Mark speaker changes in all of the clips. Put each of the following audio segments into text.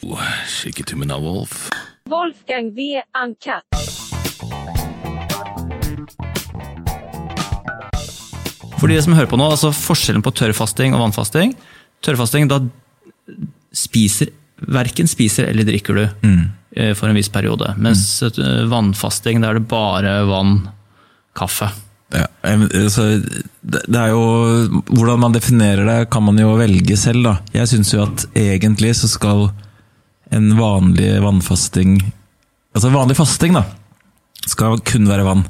Speaker 1: Kikke til meg, Wolf.
Speaker 2: Wolfgang V. Uncut.
Speaker 3: For de som hører på nå, altså forskjellen på tørrfasting og vannfasting. Tørrfasting, da spiser Verken spiser eller drikker du eh, for en viss periode. Mens eh, vannfasting, da er det bare vann, kaffe.
Speaker 4: Ja, em, så det det er jo Hvordan man definerer det, kan man jo velge selv. da. Jeg syns jo at egentlig så skal en vanlig vannfasting Altså vanlig fasting, da, skal kun være vann.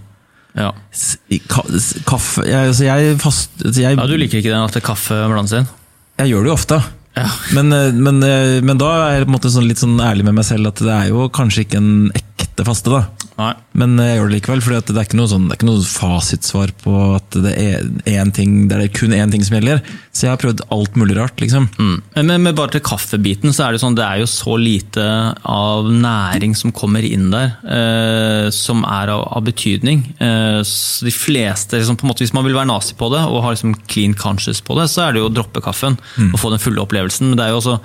Speaker 3: Ja.
Speaker 4: S- i ka- s- Kaffe Jeg, altså jeg, fast, altså jeg,
Speaker 3: ja, Du liker ikke den at det er kaffe blandes inn?
Speaker 4: jeg gjør det jo ofte.
Speaker 3: Ja.
Speaker 4: Men, eh, men, eh, men da er jeg på en måte sånn litt sånn ærlig med meg selv at det er jo kanskje ikke en ekte faste. da.
Speaker 3: Nei.
Speaker 4: Men eh, jeg gjør det likevel, for det, er ikke noe sånn, det er ikke noe fasitsvar på at det er, én ting, det er kun én ting som gjelder. Så jeg har prøvd alt mulig rart, liksom.
Speaker 3: Mm. Men, men, men bare til kaffebiten, så er det sånn, det er jo så lite av næring som kommer inn der, eh, som er av, av betydning. Eh, så de fleste, liksom, på en måte, Hvis man vil være nazi på det, og har liksom clean conscious på det, så er det jo å droppe kaffen og få den fulle opplevelsen. Men det er jo også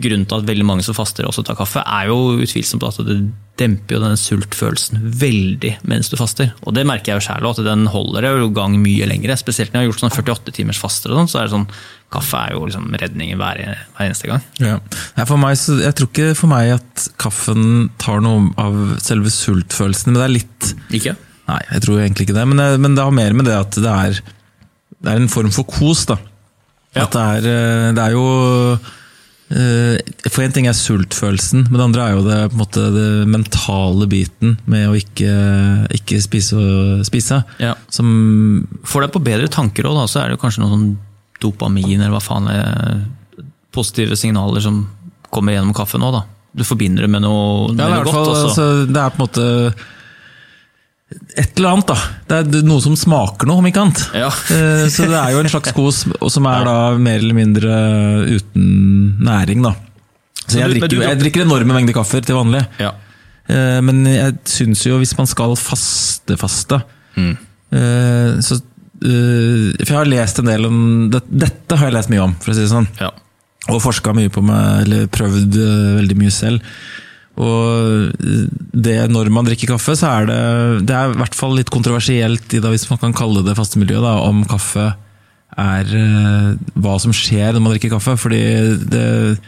Speaker 3: grunnen til at veldig mange som faster også tar kaffe, er jo utvilsomt at det demper jo denne sultfølelsen veldig mens du faster. Og det merker jeg jo sjæl, at den holder jeg jo i gang mye lengre. Spesielt når jeg har gjort sånn 48 timers faster og sånn, så er det sånn Kaffe er jo liksom redningen hver, hver eneste gang.
Speaker 4: Ja. Nei, for meg, så, jeg tror ikke for meg at kaffen tar noe av selve sultfølelsen, men det er litt
Speaker 3: Ikke?
Speaker 4: Nei, jeg tror egentlig ikke det, men, det- men det har mer med det at det er, det er en form for kos, da.
Speaker 3: Ja.
Speaker 4: At det er, eh, det er jo eh, For én ting er sultfølelsen, men det andre er jo det, på en måte, det mentale biten med å ikke, ikke spise og spise.
Speaker 3: Ja.
Speaker 4: Som
Speaker 3: Får deg på bedre tanker òg, så er det jo kanskje noe sånn dopamin eller hva faen er Positive signaler som kommer gjennom kaffen òg, da. Du forbinder det med noe,
Speaker 4: Ja,
Speaker 3: med
Speaker 4: det er, i
Speaker 3: noe
Speaker 4: hvert
Speaker 3: godt.
Speaker 4: fall,
Speaker 3: altså.
Speaker 4: altså, det er på en måte et eller annet, da. Det er noe som smaker noe, om ikke annet.
Speaker 3: Ja.
Speaker 4: Eh, Så det er jo en slags kos, og som er da mer eller mindre uten næring, da. Så jeg
Speaker 3: du- men
Speaker 4: drikker,
Speaker 3: du
Speaker 4: jo- jeg drikker enorme mengder kaffe til vanlig,
Speaker 3: Ja.
Speaker 4: Eh, men jeg syns jo hvis man skal faste-faste
Speaker 3: Mm.
Speaker 4: eh, så, eh, For jeg har lest en del om det, Dette har jeg lest mye om, for å si det sånn
Speaker 3: Ja.
Speaker 4: og forska mye på meg, eller prøvd eh, veldig mye selv. Og eh, det, når man drikker kaffe, så er det Det er i hvert fall litt kontroversielt, i da, hvis man kan kalle det faste miljø, da, om kaffe er eh, hva som skjer når man drikker kaffe. Fordi det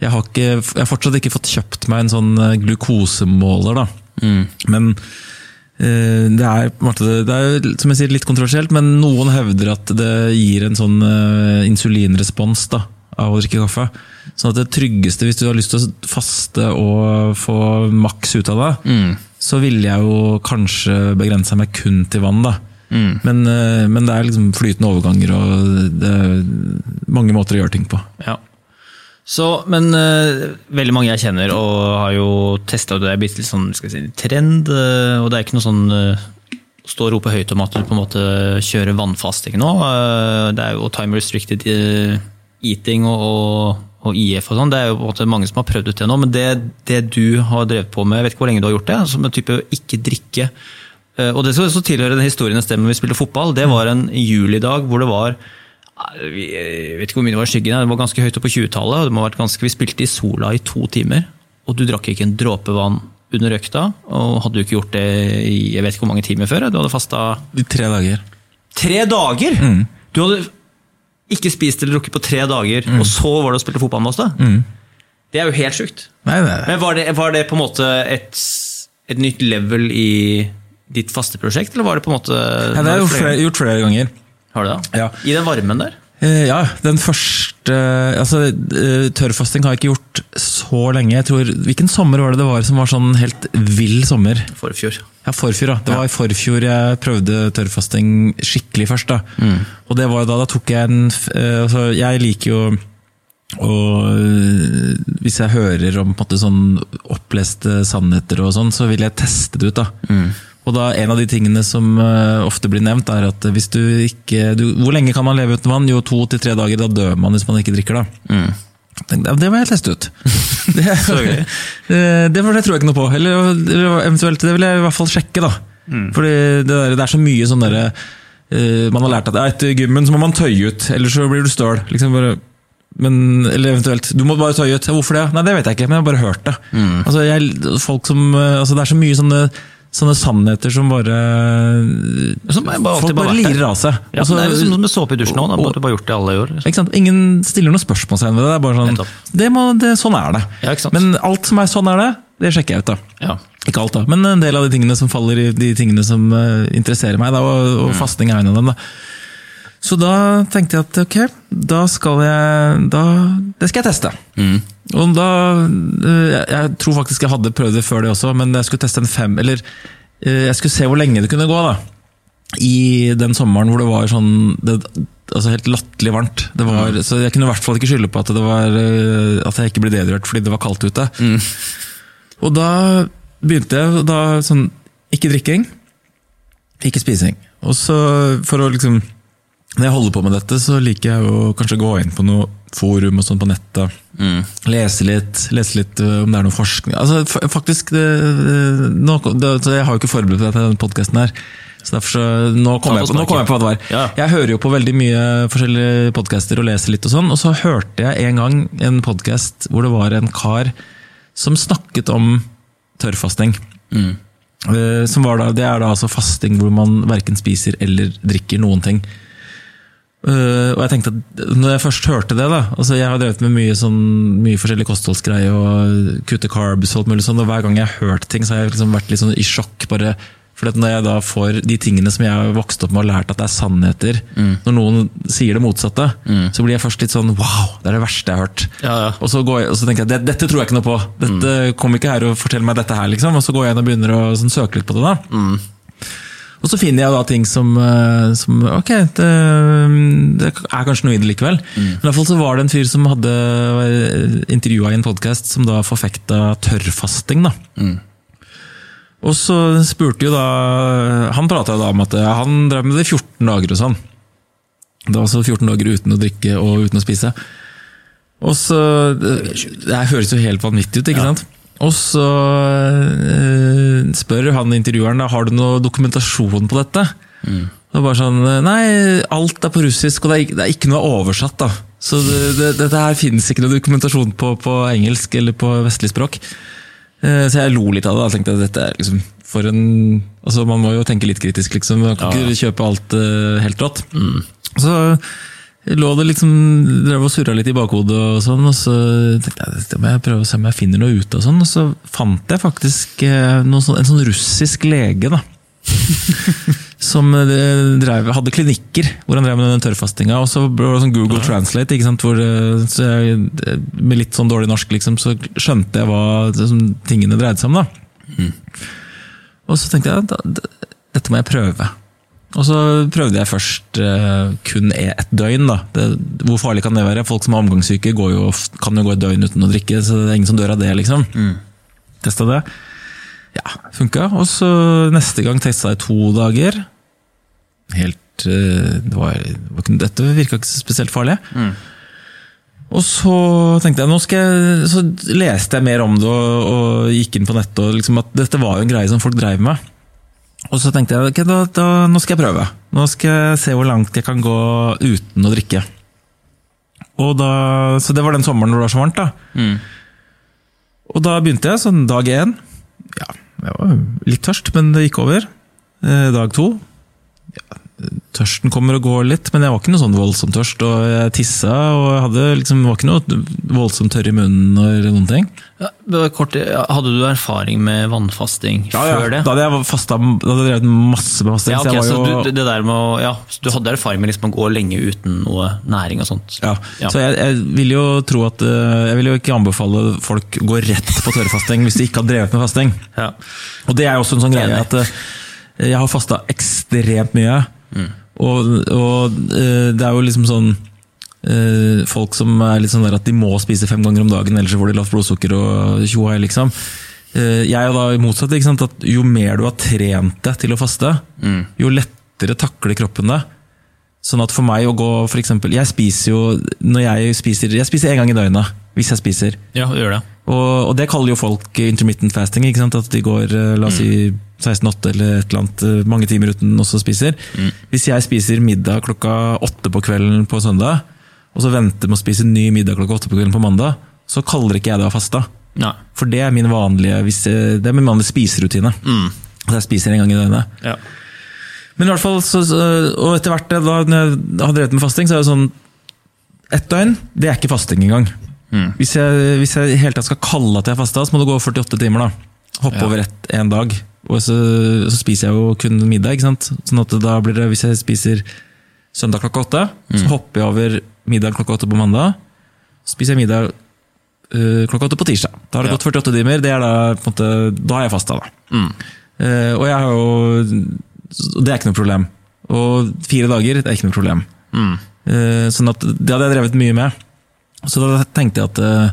Speaker 4: jeg har, ikke, jeg har fortsatt ikke fått kjøpt meg en sånn eh, glukosemåler, da. Men eh, det er, på en måte- det er jo, som jeg sier, litt kontroversielt, men noen hevder at det gir en sånn eh, insulinrespons da, av å drikke kaffe. Sånn at det tryggeste, hvis du har lyst til å faste og få maks ut av det, så ville jeg jo kanskje begrensa meg kun til vann. da. Men, eh, men det er liksom flytende overganger og det er mange måter å gjøre ting på.
Speaker 3: Ja. Så, men eh, veldig mange jeg kjenner og har jo testa det, det er blitt litt sånn skal jeg si, trend. eh, og det er ikke noe sånn eh, stå og rope høyt om at du på en måte kjører vannfasting nå. eh, det er jo time restricted eh, eating og, og, og IF og sånn. Det er jo på en måte mange som har prøvd ut det nå, men det, det du har drevet på med, jeg vet ikke hvor lenge du har gjort det, altså, som en type ikke drikke Eh, Og det som også tilhører den historien et sted hvor vi spilte fotball, det var en julidag hvor det var vi- jeg vet ikke hvor mye det var i skyggen, det var ganske høyt opp på 20-tallet. og det må ha vært ganske, Vi spilte i sola i to timer, og du drakk ikke en dråpe vann under økta. Og hadde du ikke gjort det i jeg vet ikke hvor mange timer før, du hadde fasta
Speaker 4: I tre dager.
Speaker 3: tre dager!
Speaker 4: Mm.
Speaker 3: Du hadde ikke spist eller drukket på tre dager, og så var det å spille fotball med oss, da?
Speaker 4: Mm.
Speaker 3: Det er jo helt sjukt.
Speaker 4: Nei, det er
Speaker 3: Men var det, var det på en måte et, et nytt level i ditt faste prosjekt, eller var det på en måte
Speaker 4: Nei, det er gjort flere, gjort flere ganger.
Speaker 3: Har du det?
Speaker 4: Ja.
Speaker 3: I den varmen der?
Speaker 4: Eh, Ja, den første altså, eh, Tørrfasting har jeg ikke gjort så lenge. Jeg tror, hvilken sommer var det det var som var sånn helt vill sommer?
Speaker 3: Forfjor.
Speaker 4: Ja, forfjor, da. Det var i forfjor jeg prøvde tørrfasting skikkelig først. da. Og det var jo da, da tok jeg en f- eh, altså, Jeg liker jo og øh, hvis jeg hører om på en måte, sånn oppleste sannheter og sånn, så vil jeg teste det ut. da. Og da En av de tingene som øh, ofte blir nevnt, er at hvis du ikke du, Hvor lenge kan man leve uten vann? Jo, to til tre dager. Da dør man hvis man ikke drikker. da. Mm. Jeg tenkte, ja, Det må jeg teste ut. Det,
Speaker 3: gøy.
Speaker 4: Eh, det, for det tror jeg ikke noe på. Eller, eller eventuelt, det vil jeg i hvert fall sjekke. da.
Speaker 3: Mm.
Speaker 4: Fordi det, der, det er så mye sånn derre eh, Man har lært at ja, etter gymmen så må man tøye ut, ellers så blir du støl. Liksom bare Men, eller eventuelt Du må bare ta gjøt. Hvorfor det? Nei, det vet jeg ikke, men jeg har bare hørt det.
Speaker 3: Mm.
Speaker 4: Altså, jeg, folk som, eh, altså, det er så mye sånne, sånne sannheter som bare
Speaker 3: Som bare alltid
Speaker 4: Folk
Speaker 3: bare
Speaker 4: bare
Speaker 3: vært der.
Speaker 4: lirer av seg.
Speaker 3: Ja,
Speaker 4: Altså,
Speaker 3: det er liksom med såpe i dusjen òg, bare
Speaker 4: og-
Speaker 3: at du bare har gjort det alle i år. Liksom.
Speaker 4: ikke sant? Ingen stiller noe spørsmålstegn ved det. Det er bare
Speaker 3: Nettopp.
Speaker 4: sånn det må, det, Sånn er det.
Speaker 3: Ja, ikke sant?
Speaker 4: Men alt som er sånn er det, det sjekker jeg ut, da.
Speaker 3: Ja.
Speaker 4: Ikke alt, da, men en del av de tingene som faller i de tingene som eh, interesserer meg, da, og, og fasting er en av dem. da. Så da tenkte jeg at ok, da skal jeg da, Det skal jeg teste. Og da eh, jeg, jeg tror faktisk jeg hadde prøvd det før det også, men jeg skulle teste en fem Eller eh, jeg skulle se hvor lenge det kunne gå, da. I den sommeren hvor det var sånn det, Altså helt latterlig varmt. Det var, Så jeg kunne i hvert fall ikke skylde på at, det var, eh, at jeg ikke ble dedrørt fordi det var kaldt ute. Og da begynte jeg da, sånn Ikke drikking, ikke spising. Og så for å liksom Når jeg holder på med dette, så liker jeg å kanskje gå inn på noe forum og sånn på nettet. Lese litt, lese litt øh, om det er noe forskning Altså fa- faktisk det, øh, nå, kom- det, så Jeg har jo ikke forberedt meg til denne podkasten her. Så derfor så, nå kom,
Speaker 3: Ta på
Speaker 4: jeg på, nå
Speaker 3: snakken.
Speaker 4: kom jeg på hva det var.
Speaker 3: Ja.
Speaker 4: Jeg hører jo på veldig mye forskjellige podcaster og leser litt og sånn, og så hørte jeg en gang en podcast hvor det var en kar som snakket om tørrfasting. Eh, Som var da, det er da altså fasting hvor man verken spiser eller drikker noen ting. Eh, og jeg tenkte at Når jeg først hørte det da, altså Jeg har drevet med mye, sånn, mye forskjellig kostholdsgreier og kutte carbs. og alt mulig sånn, og Hver gang jeg har hørt ting, så har jeg liksom vært litt sånn i sjokk. bare for at Når jeg da får de tingene som jeg har vokst opp med og lært at det er sannheter,
Speaker 3: Mm.
Speaker 4: når noen sier det motsatte, så blir jeg først litt sånn Wow! Det er det verste jeg har hørt.
Speaker 3: Ja, Mm. ja.
Speaker 4: Og så, går jeg, og så tenker jeg, "Det- dette tror jeg ikke noe på. Dette Kom ikke her og fortell meg dette her, liksom. Og så går jeg inn og begynner å sånn, søke litt på det. da. Og så finner jeg da ting som, eh, som Ok, det, mm, det er kanskje noe i det likevel. Men i hvert fall så var det en fyr som hadde intervjua i en podkast som da forfekta tørrfasting. da. Og så spurte jo da Han prata da om at ja, han drev med det i 14 dager og sånn. Det var altså 14 dager uten å drikke og uten å spise. Og så Det det høres jo helt vanvittig ut, ikke sant? Og så eh, spør han intervjueren da, har du noe dokumentasjon på dette. Og bare sånn Nei, alt er på russisk, og det er, ikke- det er ikke noe oversatt. da. Så det, det, dette her finnes ikke noe dokumentasjon på, på engelsk eller på vestlig språk. Eh, Så jeg lo litt av det. da, tenkte jeg, dette er liksom for en, altså Man må jo tenke litt kritisk, liksom. Man kan
Speaker 3: Ja, ja. Mm.
Speaker 4: ikke kjøpe alt eh, helt rått. Så lå det liksom, drev og surra litt i bakhodet, og sånn, og så tenkte jeg dette må jeg prøve å se om jeg finner noe ut av sånn. Og så fant jeg faktisk eh, noe sånn, en sånn russisk lege. da, som eh, drev, hadde klinikker hvor han drev med den tørrfastinga. Og så ble det sånn Google Translate, ikke sant? Hvor, eh, så jeg, eh, med litt sånn dårlig norsk, liksom, så skjønte jeg hva liksom, tingene dreide seg om. da. Og så tenkte jeg at dette må jeg prøve. Og så prøvde jeg først eh, kun e- et døgn. da. Det, hvor farlig kan det være? Folk som er omgangssyke går jo, of- kan jo gå et døgn uten å drikke, så det er ingen som dør av det. liksom. Testa det. Ja, funka. Og så neste gang testa jeg to dager. Helt eh, det var, det var ikke, Dette virka ikke så spesielt farlig. Og så tenkte jeg, nå skal jeg, så leste jeg mer om det og, og gikk inn på nettet. Og liksom at dette var jo en greie som folk drev med. Og så tenkte jeg ok, da, da, nå skal jeg prøve. Nå skal jeg se hvor langt jeg kan gå uten å drikke. Og da, så det var den sommeren hvor det var så varmt. da.
Speaker 3: Mm.
Speaker 4: Og da begynte jeg sånn dag én. Ja, jeg var litt tørst, men det gikk over. Eh, dag to. Ja, tørsten kommer og går litt, men jeg var ikke noe sånn voldsomt tørst. Og jeg tissa og jeg hadde liksom, var ikke noe voldsomt tørr i munnen eller noen ting.
Speaker 3: Ja, bare kort, ja, hadde du erfaring med vannfasting før det?
Speaker 4: Da hadde jeg fasta, da hadde jeg drevet masse med fasting.
Speaker 3: ja, ok,
Speaker 4: så jeg
Speaker 3: så
Speaker 4: var jo,
Speaker 3: du, det der med å, ja, så du hadde erfaring med liksom å gå lenge uten noe næring og sånt?
Speaker 4: Ja. Så jeg, jeg vil jo tro at eh, Jeg vil jo ikke anbefale folk å gå rett på tørrfasting hvis de ikke har drevet med fasting.
Speaker 3: Ja.
Speaker 4: Og det er jo også en sånn greie
Speaker 3: Enig.
Speaker 4: at eh, jeg har fasta ekstremt mye. Og, og eh, det er jo liksom sånn eh, Folk som er litt sånn der at de må spise fem ganger om dagen, ellers så får de lavt blodsukker og tjohei, liksom. Eh, jeg er jo da i motsatt. Ikke sant? At jo mer du har trent deg til å faste, jo lettere takler kroppen det. Sånn at for meg å gå for eksempel, Jeg spiser jo når jeg spiser, jeg spiser en gang i døgnet. Hvis jeg spiser.
Speaker 3: ja, gjør det.
Speaker 4: Og, og det kaller jo folk intermittent fasting. ikke sant? At de går eh, la oss si 16-8 eller et eller annet, eh, mange timer uten også spiser. Hvis jeg spiser middag klokka åtte på kvelden på søndag, og så venter med å spise ny middag klokka åtte på kvelden på mandag, så kaller ikke jeg det å ha fasta.
Speaker 3: Nei.
Speaker 4: For det er min vanlige, hvis, eh, det er min vanlige spiserutine. At jeg spiser en gang i døgnet.
Speaker 3: Mm. Ja.
Speaker 4: Men i hvert fall, så, så- og etter hvert eh, da når jeg har drevet med fasting, så er det sånn Ett døgn, det er ikke fasting engang.
Speaker 3: Mm.
Speaker 4: Hvis jeg, hvis jeg helt tatt skal kalle at jeg har fasta, så må det gå 48 timer. da. Hoppe
Speaker 3: Ja.
Speaker 4: over ett en dag. Og så, så spiser jeg jo kun middag. ikke sant? Sånn at da blir det, Hvis jeg spiser søndag klokka åtte,
Speaker 3: Mm.
Speaker 4: så hopper jeg over middag klokka åtte på mandag. Så spiser jeg middag øh, klokka åtte på tirsdag. Da har det
Speaker 3: Ja.
Speaker 4: gått 48 timer. det er Da på en måte, da har jeg fasta, da.
Speaker 3: Mm.
Speaker 4: Eh, og jeg har jo og Det er ikke noe problem. Og fire dager, det er ikke noe problem.
Speaker 3: Mm.
Speaker 4: Eh, sånn at det hadde jeg drevet mye med. Så da tenkte jeg at eh,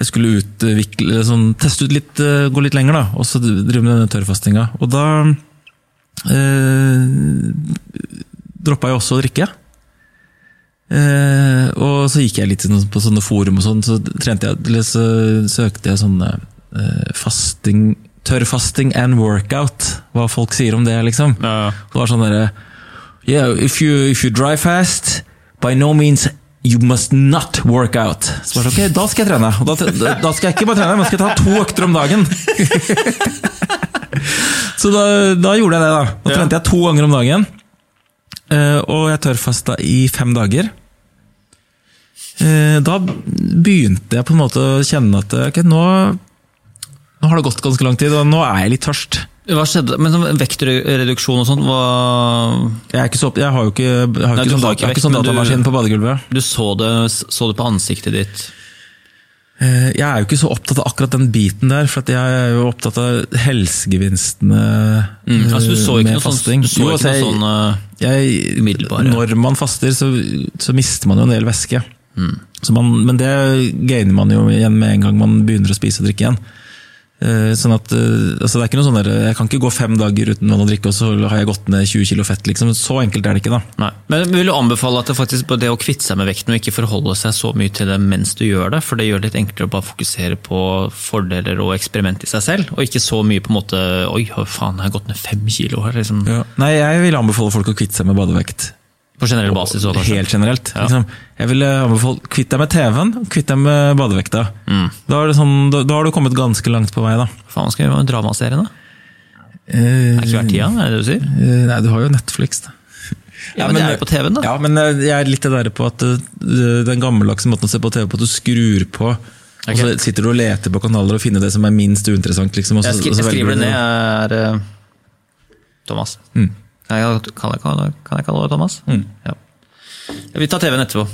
Speaker 4: jeg skulle utvikle, eller sånn, teste ut litt, eh, gå litt lenger, da, og så drive med denne tørrfastinga. Og da eh, droppa jeg også å drikke. Eh, og så gikk jeg litt sånn på sånne forum og sånn, så trente jeg, eller så søkte jeg sånne eh, fasting, tørrfasting and workout. Hva folk sier om det, liksom.
Speaker 3: Ja.
Speaker 4: Det var sånn derre Yeah, if you, if you dry fast, by no means you must not work out. Så bare, ok, da skal jeg trene. Og Da, da skal jeg ikke bare trene, men skal jeg ta to økter om dagen. Så da, da gjorde jeg det, da. Da
Speaker 3: Ja.
Speaker 4: trente jeg to ganger om dagen. Eh, Og jeg tørrfasta i fem dager. Eh, Da begynte jeg på en måte å kjenne at ok, nå, nå har det gått ganske lang tid, og nå er jeg litt tørst.
Speaker 3: Hva skjedde? Men sånn vektreduksjon og sånt, hva
Speaker 4: Jeg, er ikke så, opp- jeg har jo ikke, jeg har
Speaker 3: Nei,
Speaker 4: ikke,
Speaker 3: du
Speaker 4: sånn, dat- jeg
Speaker 3: har ikke
Speaker 4: har ikke
Speaker 3: vekt,
Speaker 4: sånn
Speaker 3: men du-
Speaker 4: datamaskin på badegulvet.
Speaker 3: Du så det, så det på ansiktet ditt.
Speaker 4: Eh, Jeg er jo ikke så opptatt av akkurat den biten der, for at jeg er jo opptatt av helsegevinstene eh,
Speaker 3: Altså, du så ikke noe sånn, du så
Speaker 4: Jo,
Speaker 3: ikke
Speaker 4: altså,
Speaker 3: noe sånn eh,
Speaker 4: jeg,
Speaker 3: umiddelbare.
Speaker 4: Når man faster, så, så mister man jo en del væske. Så man, men det gainer man jo igjen med en gang man begynner å spise og drikke igjen. Eh, Sånn at, eh, altså det er ikke noe sånn der, Jeg kan ikke gå fem dager uten vann og drikke, og så har jeg gått ned 20 kilo fett. Liksom. Så enkelt er det ikke. da.
Speaker 3: Nei. Men vil du anbefale at det faktisk på det å kvitte seg med vekten og ikke forholde seg så mye til det mens du gjør det, for det gjør det litt enklere å bare fokusere på fordeler og eksperiment i seg selv, og ikke så mye på en måte Oi, hva faen, jeg har gått ned fem kilo her, liksom.
Speaker 4: Nei, Jeg vil anbefale folk å kvitte seg med badevekt.
Speaker 3: På generell basis òg, kanskje.
Speaker 4: Helt generelt.
Speaker 3: Ja.
Speaker 4: Liksom. Jeg ville anbefalt kvitt deg med TV-en, kvitt deg med badevekta.
Speaker 3: Mm.
Speaker 4: Da, er det sånn, da, da har du kommet ganske langt på vei, da.
Speaker 3: Faen, skal vi gjøre en dramaserie, da? Er ikke hver tida, er det det du sier?
Speaker 4: Eh, Nei, du har jo Netflix, da.
Speaker 3: Ja, men det er jo på TV-en, da.
Speaker 4: Ja, men eh, jeg er litt det der på at eh, den gammeldagse måten å se på TV på, at du skrur på,
Speaker 3: Ok.
Speaker 4: og så sitter du og leter på kanaler og finner det som er minst uinteressant. Liksom, og så,
Speaker 3: Jeg, skri
Speaker 4: og så
Speaker 3: jeg skriver
Speaker 4: velger
Speaker 3: det
Speaker 4: du
Speaker 3: ned, jeg er eh, Thomas.
Speaker 4: Mm.
Speaker 3: Kan jeg, kan, jeg, kalle- kan jeg kalle deg Thomas? Ja. Vi tar TV-en etterpå.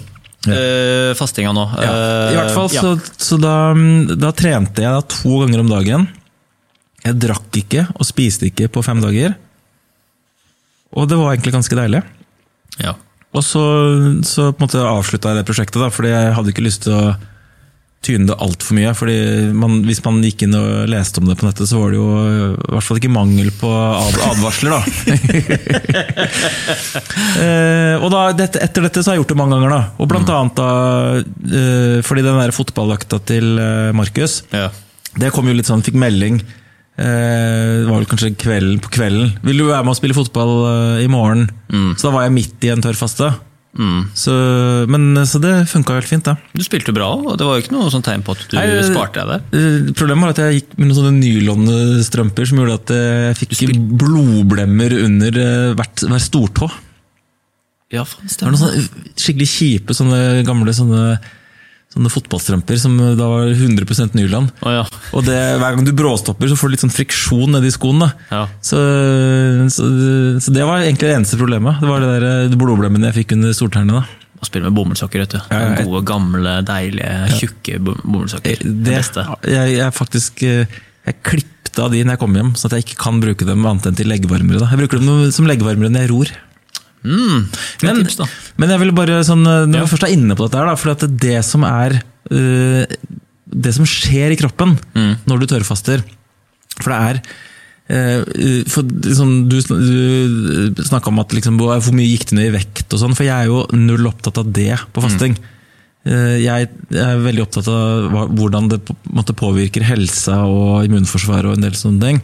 Speaker 3: Eh, fastinga nå.
Speaker 4: Ja, I hvert fall,
Speaker 3: Eh, ja.
Speaker 4: så, så da, mm, da trente jeg da to ganger om dagen. Jeg drakk ikke og spiste ikke på fem dager. Og det var egentlig ganske deilig.
Speaker 3: Ja.
Speaker 4: Og så, så på en måte avslutta jeg det prosjektet, da, fordi jeg hadde ikke lyst til å tyne det altfor mye. fordi man, Hvis man gikk inn og leste om det på nettet, så var det jo øh, i hvert fall ikke mangel på ad advarsler, da. eh, og da, dette, etter dette så har jeg gjort det mange ganger, da. Og blant annet da eh, fordi den der fotballøkta til eh, Markus
Speaker 3: Ja.
Speaker 4: det kom jo litt sånn, fikk melding eh, Det var vel kanskje kvelden på kvelden Vil du være med og spille fotball eh, i morgen? Så da var jeg midt i en tørr faste
Speaker 3: Mm.
Speaker 4: så, men, eh, så det funket helt fint da
Speaker 3: Du spilte jo bra òg, og det var jo ikke noe sånn tegn på at du
Speaker 4: Nei, det-
Speaker 3: sparte deg der.
Speaker 4: Eh, Problemet var at jeg gikk med noen sånne nylonstrømper Som gjorde at eh, jeg fikk blodblemmer under eh, hvert, hver stortå Det
Speaker 3: Ja, faen,
Speaker 4: var
Speaker 3: stemmer
Speaker 4: noen sånne skikkelig kjipe sånne gamle sånne, sånne fotballstrømper Som eh, da var 100% nylon
Speaker 3: Å, ja.
Speaker 4: Og det, hver gang du bråstopper så får du litt sånn friksjon nedi skoen da
Speaker 3: Ja.
Speaker 4: Så, så, så det var egentlig det eneste problemet. Det var det der eh, det blodblemmen jeg fikk under stortærne. da.
Speaker 3: Og spille med bomullssokker, vet du.
Speaker 4: Ja, Eh, jeg-
Speaker 3: Gode, gamle, deilige, tjukke bom- bomullssokker. Det, beste.
Speaker 4: Jeg, jeg faktisk eh, jeg klippte av de når jeg kom hjem, sånn at jeg ikke kan bruke dem annet enn til leggevarmere. da. Jeg bruker dem som leggevarmere når jeg ror.
Speaker 3: Mm.
Speaker 4: Men,
Speaker 3: tips, da.
Speaker 4: men jeg vil bare sånn, eh, når
Speaker 3: Ja.
Speaker 4: vi først er inne på dette her, da, for at det som er eh, Det som skjer i kroppen
Speaker 3: Mm.
Speaker 4: når du tørrfaster For det er eh, eh, for, liksom, du, sn- du snakka om at liksom, hvor hvor mye gikk det ned i vekt og sånn, for jeg er jo null opptatt av det
Speaker 3: Mm.
Speaker 4: på fasting. Eh, Jeg er veldig opptatt av hva- hvordan det på en måte påvirker helsa og immunforsvaret og en del sånne ting.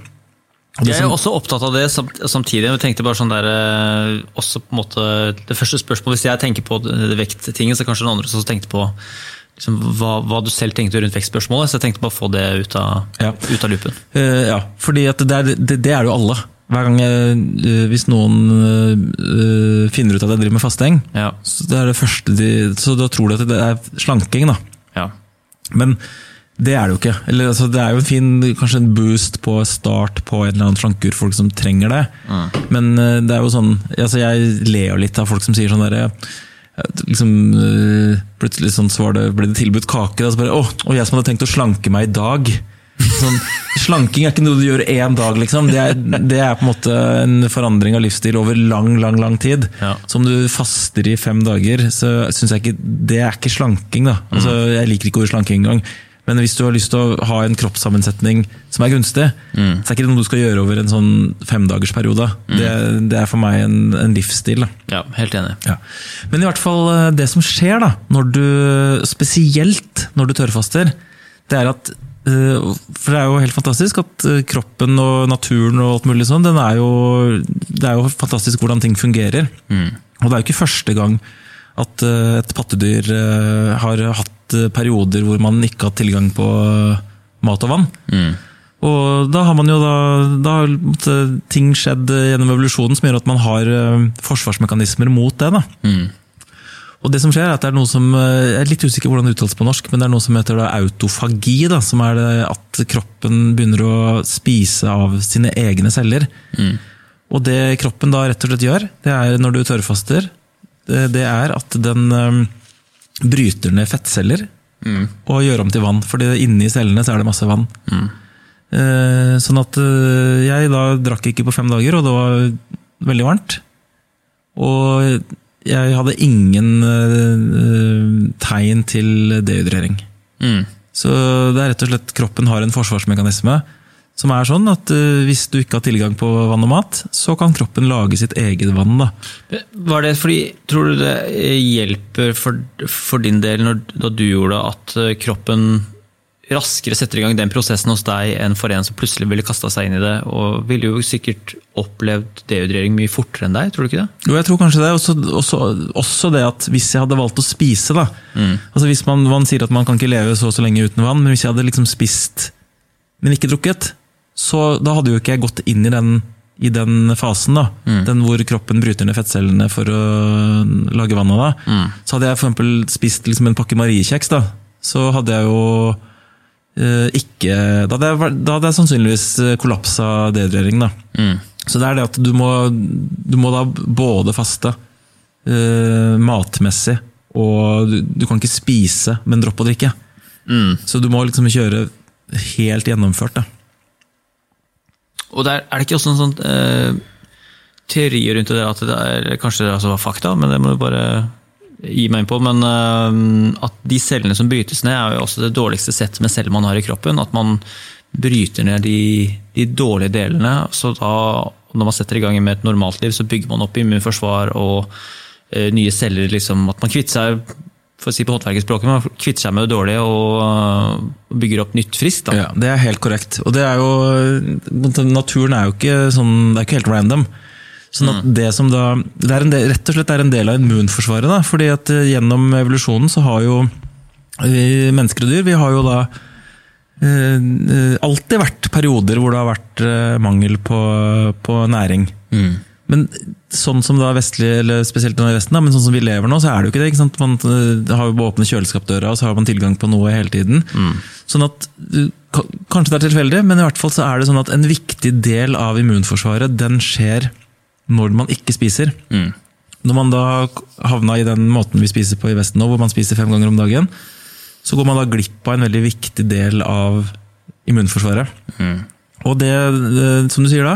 Speaker 4: Det
Speaker 3: Jeg er
Speaker 4: som-
Speaker 3: også opptatt av det samt- samtidig. Jeg tenkte bare sånn der, eh, også på en måte, Det første spørsmålet, hvis jeg tenker på det- det vekttingen, så er kanskje den andre som tenkte på liksom, hva, hva du selv tenkte rundt vektspørsmålet. Så jeg tenkte bare å få det ut av,
Speaker 4: Ja.
Speaker 3: ut av loopen.
Speaker 4: Eh, ja, fordi at det er det, det er jo alle. Hver gang jeg, eh, hvis noen eh, eh, finner ut at jeg driver med fasting,
Speaker 3: Ja.
Speaker 4: så, det er det første de, så da tror de at det er slanking, da.
Speaker 3: ja.
Speaker 4: Men det er det jo ikke. Eller, altså, det er jo en fin kanskje en boost på start på en eller annen slankekur, folk som trenger det. Men eh, det er jo sånn altså, Jeg ler jo litt av folk som sier sånn derre liksom, eh, Plutselig sånn, så var det, ble det tilbudt kake, da, så bare Å, og jeg som hadde tenkt å slanke meg i dag. Sånn, slanking er ikke noe du gjør én dag, liksom. Det er, det er på en måte en forandring av livsstil over lang, lang lang tid.
Speaker 3: Ja.
Speaker 4: Så om du faster i fem dager, så syns jeg ikke Det er ikke slanking, da. Altså, jeg liker ikke ordet slanking engang. Men hvis du har lyst til å ha en kroppssammensetning som er gunstig, så er ikke det noe du skal gjøre over en sånn femdagersperiode. Det, det er for meg en, en livsstil. Da.
Speaker 3: ja, helt enig.
Speaker 4: Ja. Men i hvert fall eh, det som skjer da, når du, spesielt når du tørrfaster, det er at eh, For det er jo helt fantastisk at eh, kroppen og naturen og alt mulig sånn, den er jo, det er jo fantastisk hvordan ting fungerer. Og det er jo ikke første gang at eh, et pattedyr eh, har hatt eh, perioder hvor man ikke har hatt tilgang på eh, mat og vann. Og da har man jo da, da har på en måte ting skjedd eh, gjennom evolusjonen som gjør at man har eh, forsvarsmekanismer mot det. da. Og det som skjer er at det er noe som, eh, Jeg er litt usikker på hvordan det uttales på norsk, men det er noe som heter da autofagi. da, Som er det at kroppen begynner å spise av sine egne celler. Og det kroppen da rett og slett gjør, det er når du tørrfaster, det, det er at den eh, bryter ned fettceller og gjør om til vann. fordi inni cellene så er det masse vann. Eh, Sånn at eh, jeg da drakk ikke på fem dager, og det var veldig varmt. Og jeg hadde ingen eh, eh, tegn til dehydrering.
Speaker 3: Mm.
Speaker 4: Så det er rett og slett kroppen har en forsvarsmekanisme som er sånn at eh, hvis du ikke har tilgang på vann og mat, så kan kroppen lage sitt eget vann. da.
Speaker 3: Var det fordi, Tror du det eh, hjelper for, for din del når, da du gjorde det, at eh, kroppen raskere setter i gang den prosessen hos deg enn for en som plutselig ville kasta seg inn i det, og ville jo sikkert opplevd dehydrering mye fortere enn deg, tror du ikke det?
Speaker 4: Jo, jeg tror kanskje det. Også, også, også det at hvis jeg hadde valgt å spise, da altså hvis man, man sier at man kan ikke leve så og så lenge uten vann, men hvis jeg hadde liksom spist, men ikke drukket, så da hadde jo ikke jeg gått inn i den, i den fasen, da. Den hvor kroppen bryter ned fettcellene for å lage vann av det.
Speaker 3: Mm.
Speaker 4: Så hadde jeg for eksempel spist liksom en pakke mariekjeks, da, så hadde jeg jo eh, ikke Da hadde jeg, vært- da hadde jeg sannsynligvis eh, kollapsa dehydrering, da.
Speaker 3: mm,
Speaker 4: Så det er det at du må, du må da både faste eh, matmessig, og du, du kan ikke spise, men droppe å drikke.
Speaker 3: mm.
Speaker 4: Så du må liksom kjøre helt gjennomført. Da.
Speaker 3: Og der, er det ikke også en sånn eh, teori rundt det der at det er kanskje det altså var fakta, men det må du bare gi meg inn på. Men eh, at de cellene som brytes ned, er jo også det dårligste settet med celler man har i kroppen. At man bryter ned de, de dårlige delene. Så da, når man setter i gang med et normalt liv, så bygger man opp immunforsvar og eh, nye celler. liksom, At man kvitter seg for å si på håndverkerspråket, man kvitter seg med det dårlige og eh, bygger opp nytt friskt. da.
Speaker 4: Ja, det er helt korrekt. Og det er jo Naturen er jo ikke sånn Det er ikke helt random. Sånn at Det som da det er en del, rett og slett er en del av immunforsvaret. da, fordi at eh, Gjennom evolusjonen så har jo vi mennesker og dyr vi har jo da eh, eh, alltid vært perioder hvor det har vært eh, mangel på, på næring. Men sånn som da vestlig, eller spesielt nå i Vesten, da, men sånn som vi lever nå, så er det jo ikke det. ikke sant? Man eh, har jo bare åpne kjøleskapdøra, og så har man tilgang på noe hele tiden. Sånn at, du, ka- Kanskje det er tilfeldig, men i hvert fall så er det sånn at en viktig del av immunforsvaret den skjer når man ikke spiser. Når man da havna i den måten vi spiser på i Vesten nå, hvor man spiser fem ganger om dagen, så går man da glipp av en veldig viktig del av immunforsvaret. Og det, eh, som du sier da,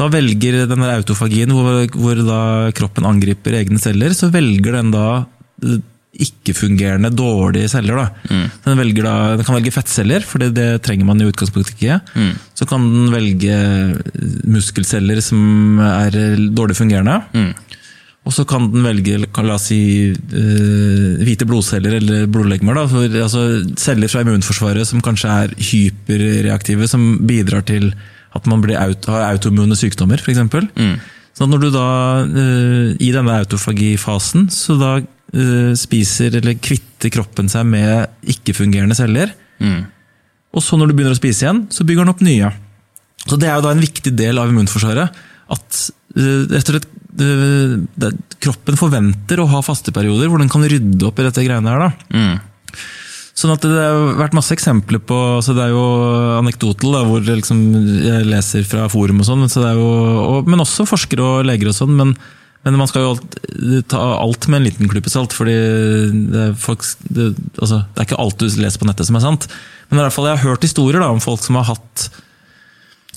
Speaker 4: da velger den der autofagien, hvor, hvor da kroppen angriper egne celler, så velger den da eh, ikke-fungerende, dårlige celler. Da. Den, velger da, den kan velge fettceller, for det, det trenger man i utgangspunktet ikke. Så kan den velge muskelceller som er eh, dårlig fungerende. Og så kan den velge kan- la oss si, eh, hvite blodceller eller blodlegemer. Da, for, altså, celler fra immunforsvaret som kanskje er hyperreaktive, som bidrar til at man blir aut har autoimmune sykdommer, f.eks. Mm. Sånn at når du da, eh, i denne autofagifasen, så da eh, spiser eller kvitter kroppen seg med ikke-fungerende celler. Og så når du begynner å spise igjen, så bygger den opp nye. Så det er jo da en viktig del av immunforsvaret. At eh, rett og slett eh, det, kroppen forventer å ha fasteperioder hvor den kan rydde opp i dette greiene her. da. Sånn at Det har vært masse eksempler på så Det er jo anekdotal da, hvor det liksom, jeg leser fra forum, og sånn, men så det er jo, og, men også forskere og leger. og sånn, men, men man skal jo alt, ta alt med en liten klype salt. fordi det er, folk, det, altså, det er ikke alt du leser på nettet som er sant. Men i hvert fall, jeg har hørt historier da, om folk som har hatt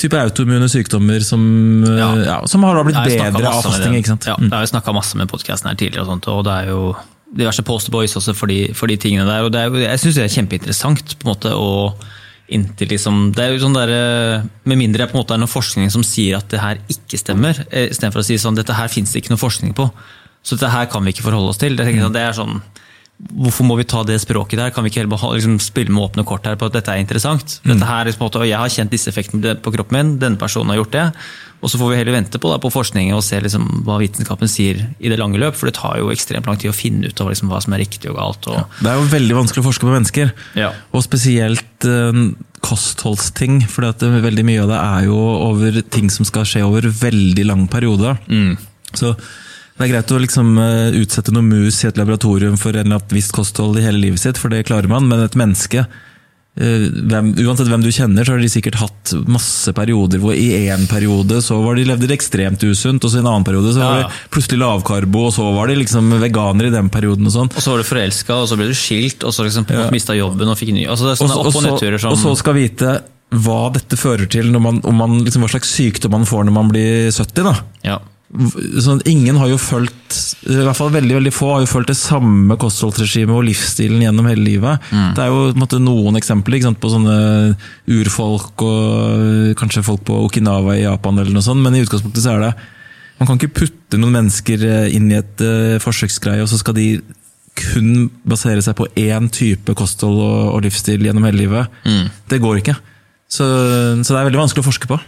Speaker 4: type autoimmune sykdommer som, ja.
Speaker 3: Ja.
Speaker 4: som har da blitt
Speaker 3: Jeg har snakket
Speaker 4: bedre av
Speaker 3: masse med
Speaker 4: fasting.
Speaker 3: dem.
Speaker 4: ikke sant?
Speaker 3: Ja,
Speaker 4: Mm.
Speaker 3: jeg har jo snakka masse med podkasten her tidligere, og sånt, og det er jo diverse posterboys også for de, for de tingene der. og det er, jo- Jeg syns det er kjempeinteressant. på en måte, og inntil liksom, det er jo sånn der, eh, Med mindre det på en måte er noe forskning som sier at det her ikke stemmer, eh, istedenfor å si sånn, dette her fins det ikke noe forskning på, så dette her kan vi ikke forholde oss til. Jeg tenker sånn, det er sånn, Hvorfor må vi ta det språket der? Kan vi ikke heller beha- liksom, spille med åpne kort her på at dette er interessant?
Speaker 4: Mm.
Speaker 3: Dette her er liksom, på en måte, «Å, Jeg har kjent disse effektene på kroppen min, denne personen har gjort det. Og så får vi heller vente på, da, på forskningen og se liksom, hva vitenskapen sier i det lange løp, for det tar jo ekstremt lang tid å finne ut av liksom, hva som er riktig og galt. Og,
Speaker 4: Det er jo veldig vanskelig å forske på mennesker.
Speaker 3: Ja.
Speaker 4: Og spesielt eh, kostholdsting, for veldig mye av det er jo over ting som skal skje over veldig lang periode.
Speaker 3: Mm.
Speaker 4: Så det er greit å liksom eh, utsette noen mus i et laboratorium for en eller annen visst kosthold i hele livet sitt, for det klarer man, men et menneske eh, hvem, uansett hvem du kjenner, så har de sikkert hatt masse perioder hvor i en periode så var de levde de ekstremt usunt, og så i en annen periode så var
Speaker 3: Ja.
Speaker 4: de plutselig lavkarbo, og så var de liksom veganere i den perioden og sånn.
Speaker 3: og så var du forelska, og så ble du skilt, og så liksom, ja. mista jobben og fikk ny altså, Det er sånne
Speaker 4: Og så-
Speaker 3: opp- og
Speaker 4: og så-
Speaker 3: nedturer som
Speaker 4: Og så skal vite hva dette fører til, når man, om man, liksom, hva slags sykdom man får når man blir 70. da.
Speaker 3: ja.
Speaker 4: V- Sånn, at ingen har jo fulgt, i hvert fall veldig veldig få, har jo fulgt det samme kostholdsregimet og livsstilen gjennom hele livet. Det er jo på en måte, noen eksempler ikke sant, på sånne urfolk og øh, kanskje folk på Okinawa i Japan, eller noe sånt, men i utgangspunktet så er det Man kan ikke putte noen mennesker øh, inn i et øh, forsøksgreie, og så skal de kun basere seg på én type kosthold og, og livsstil gjennom hele livet. Det går ikke. Så, så det er veldig vanskelig å forske på.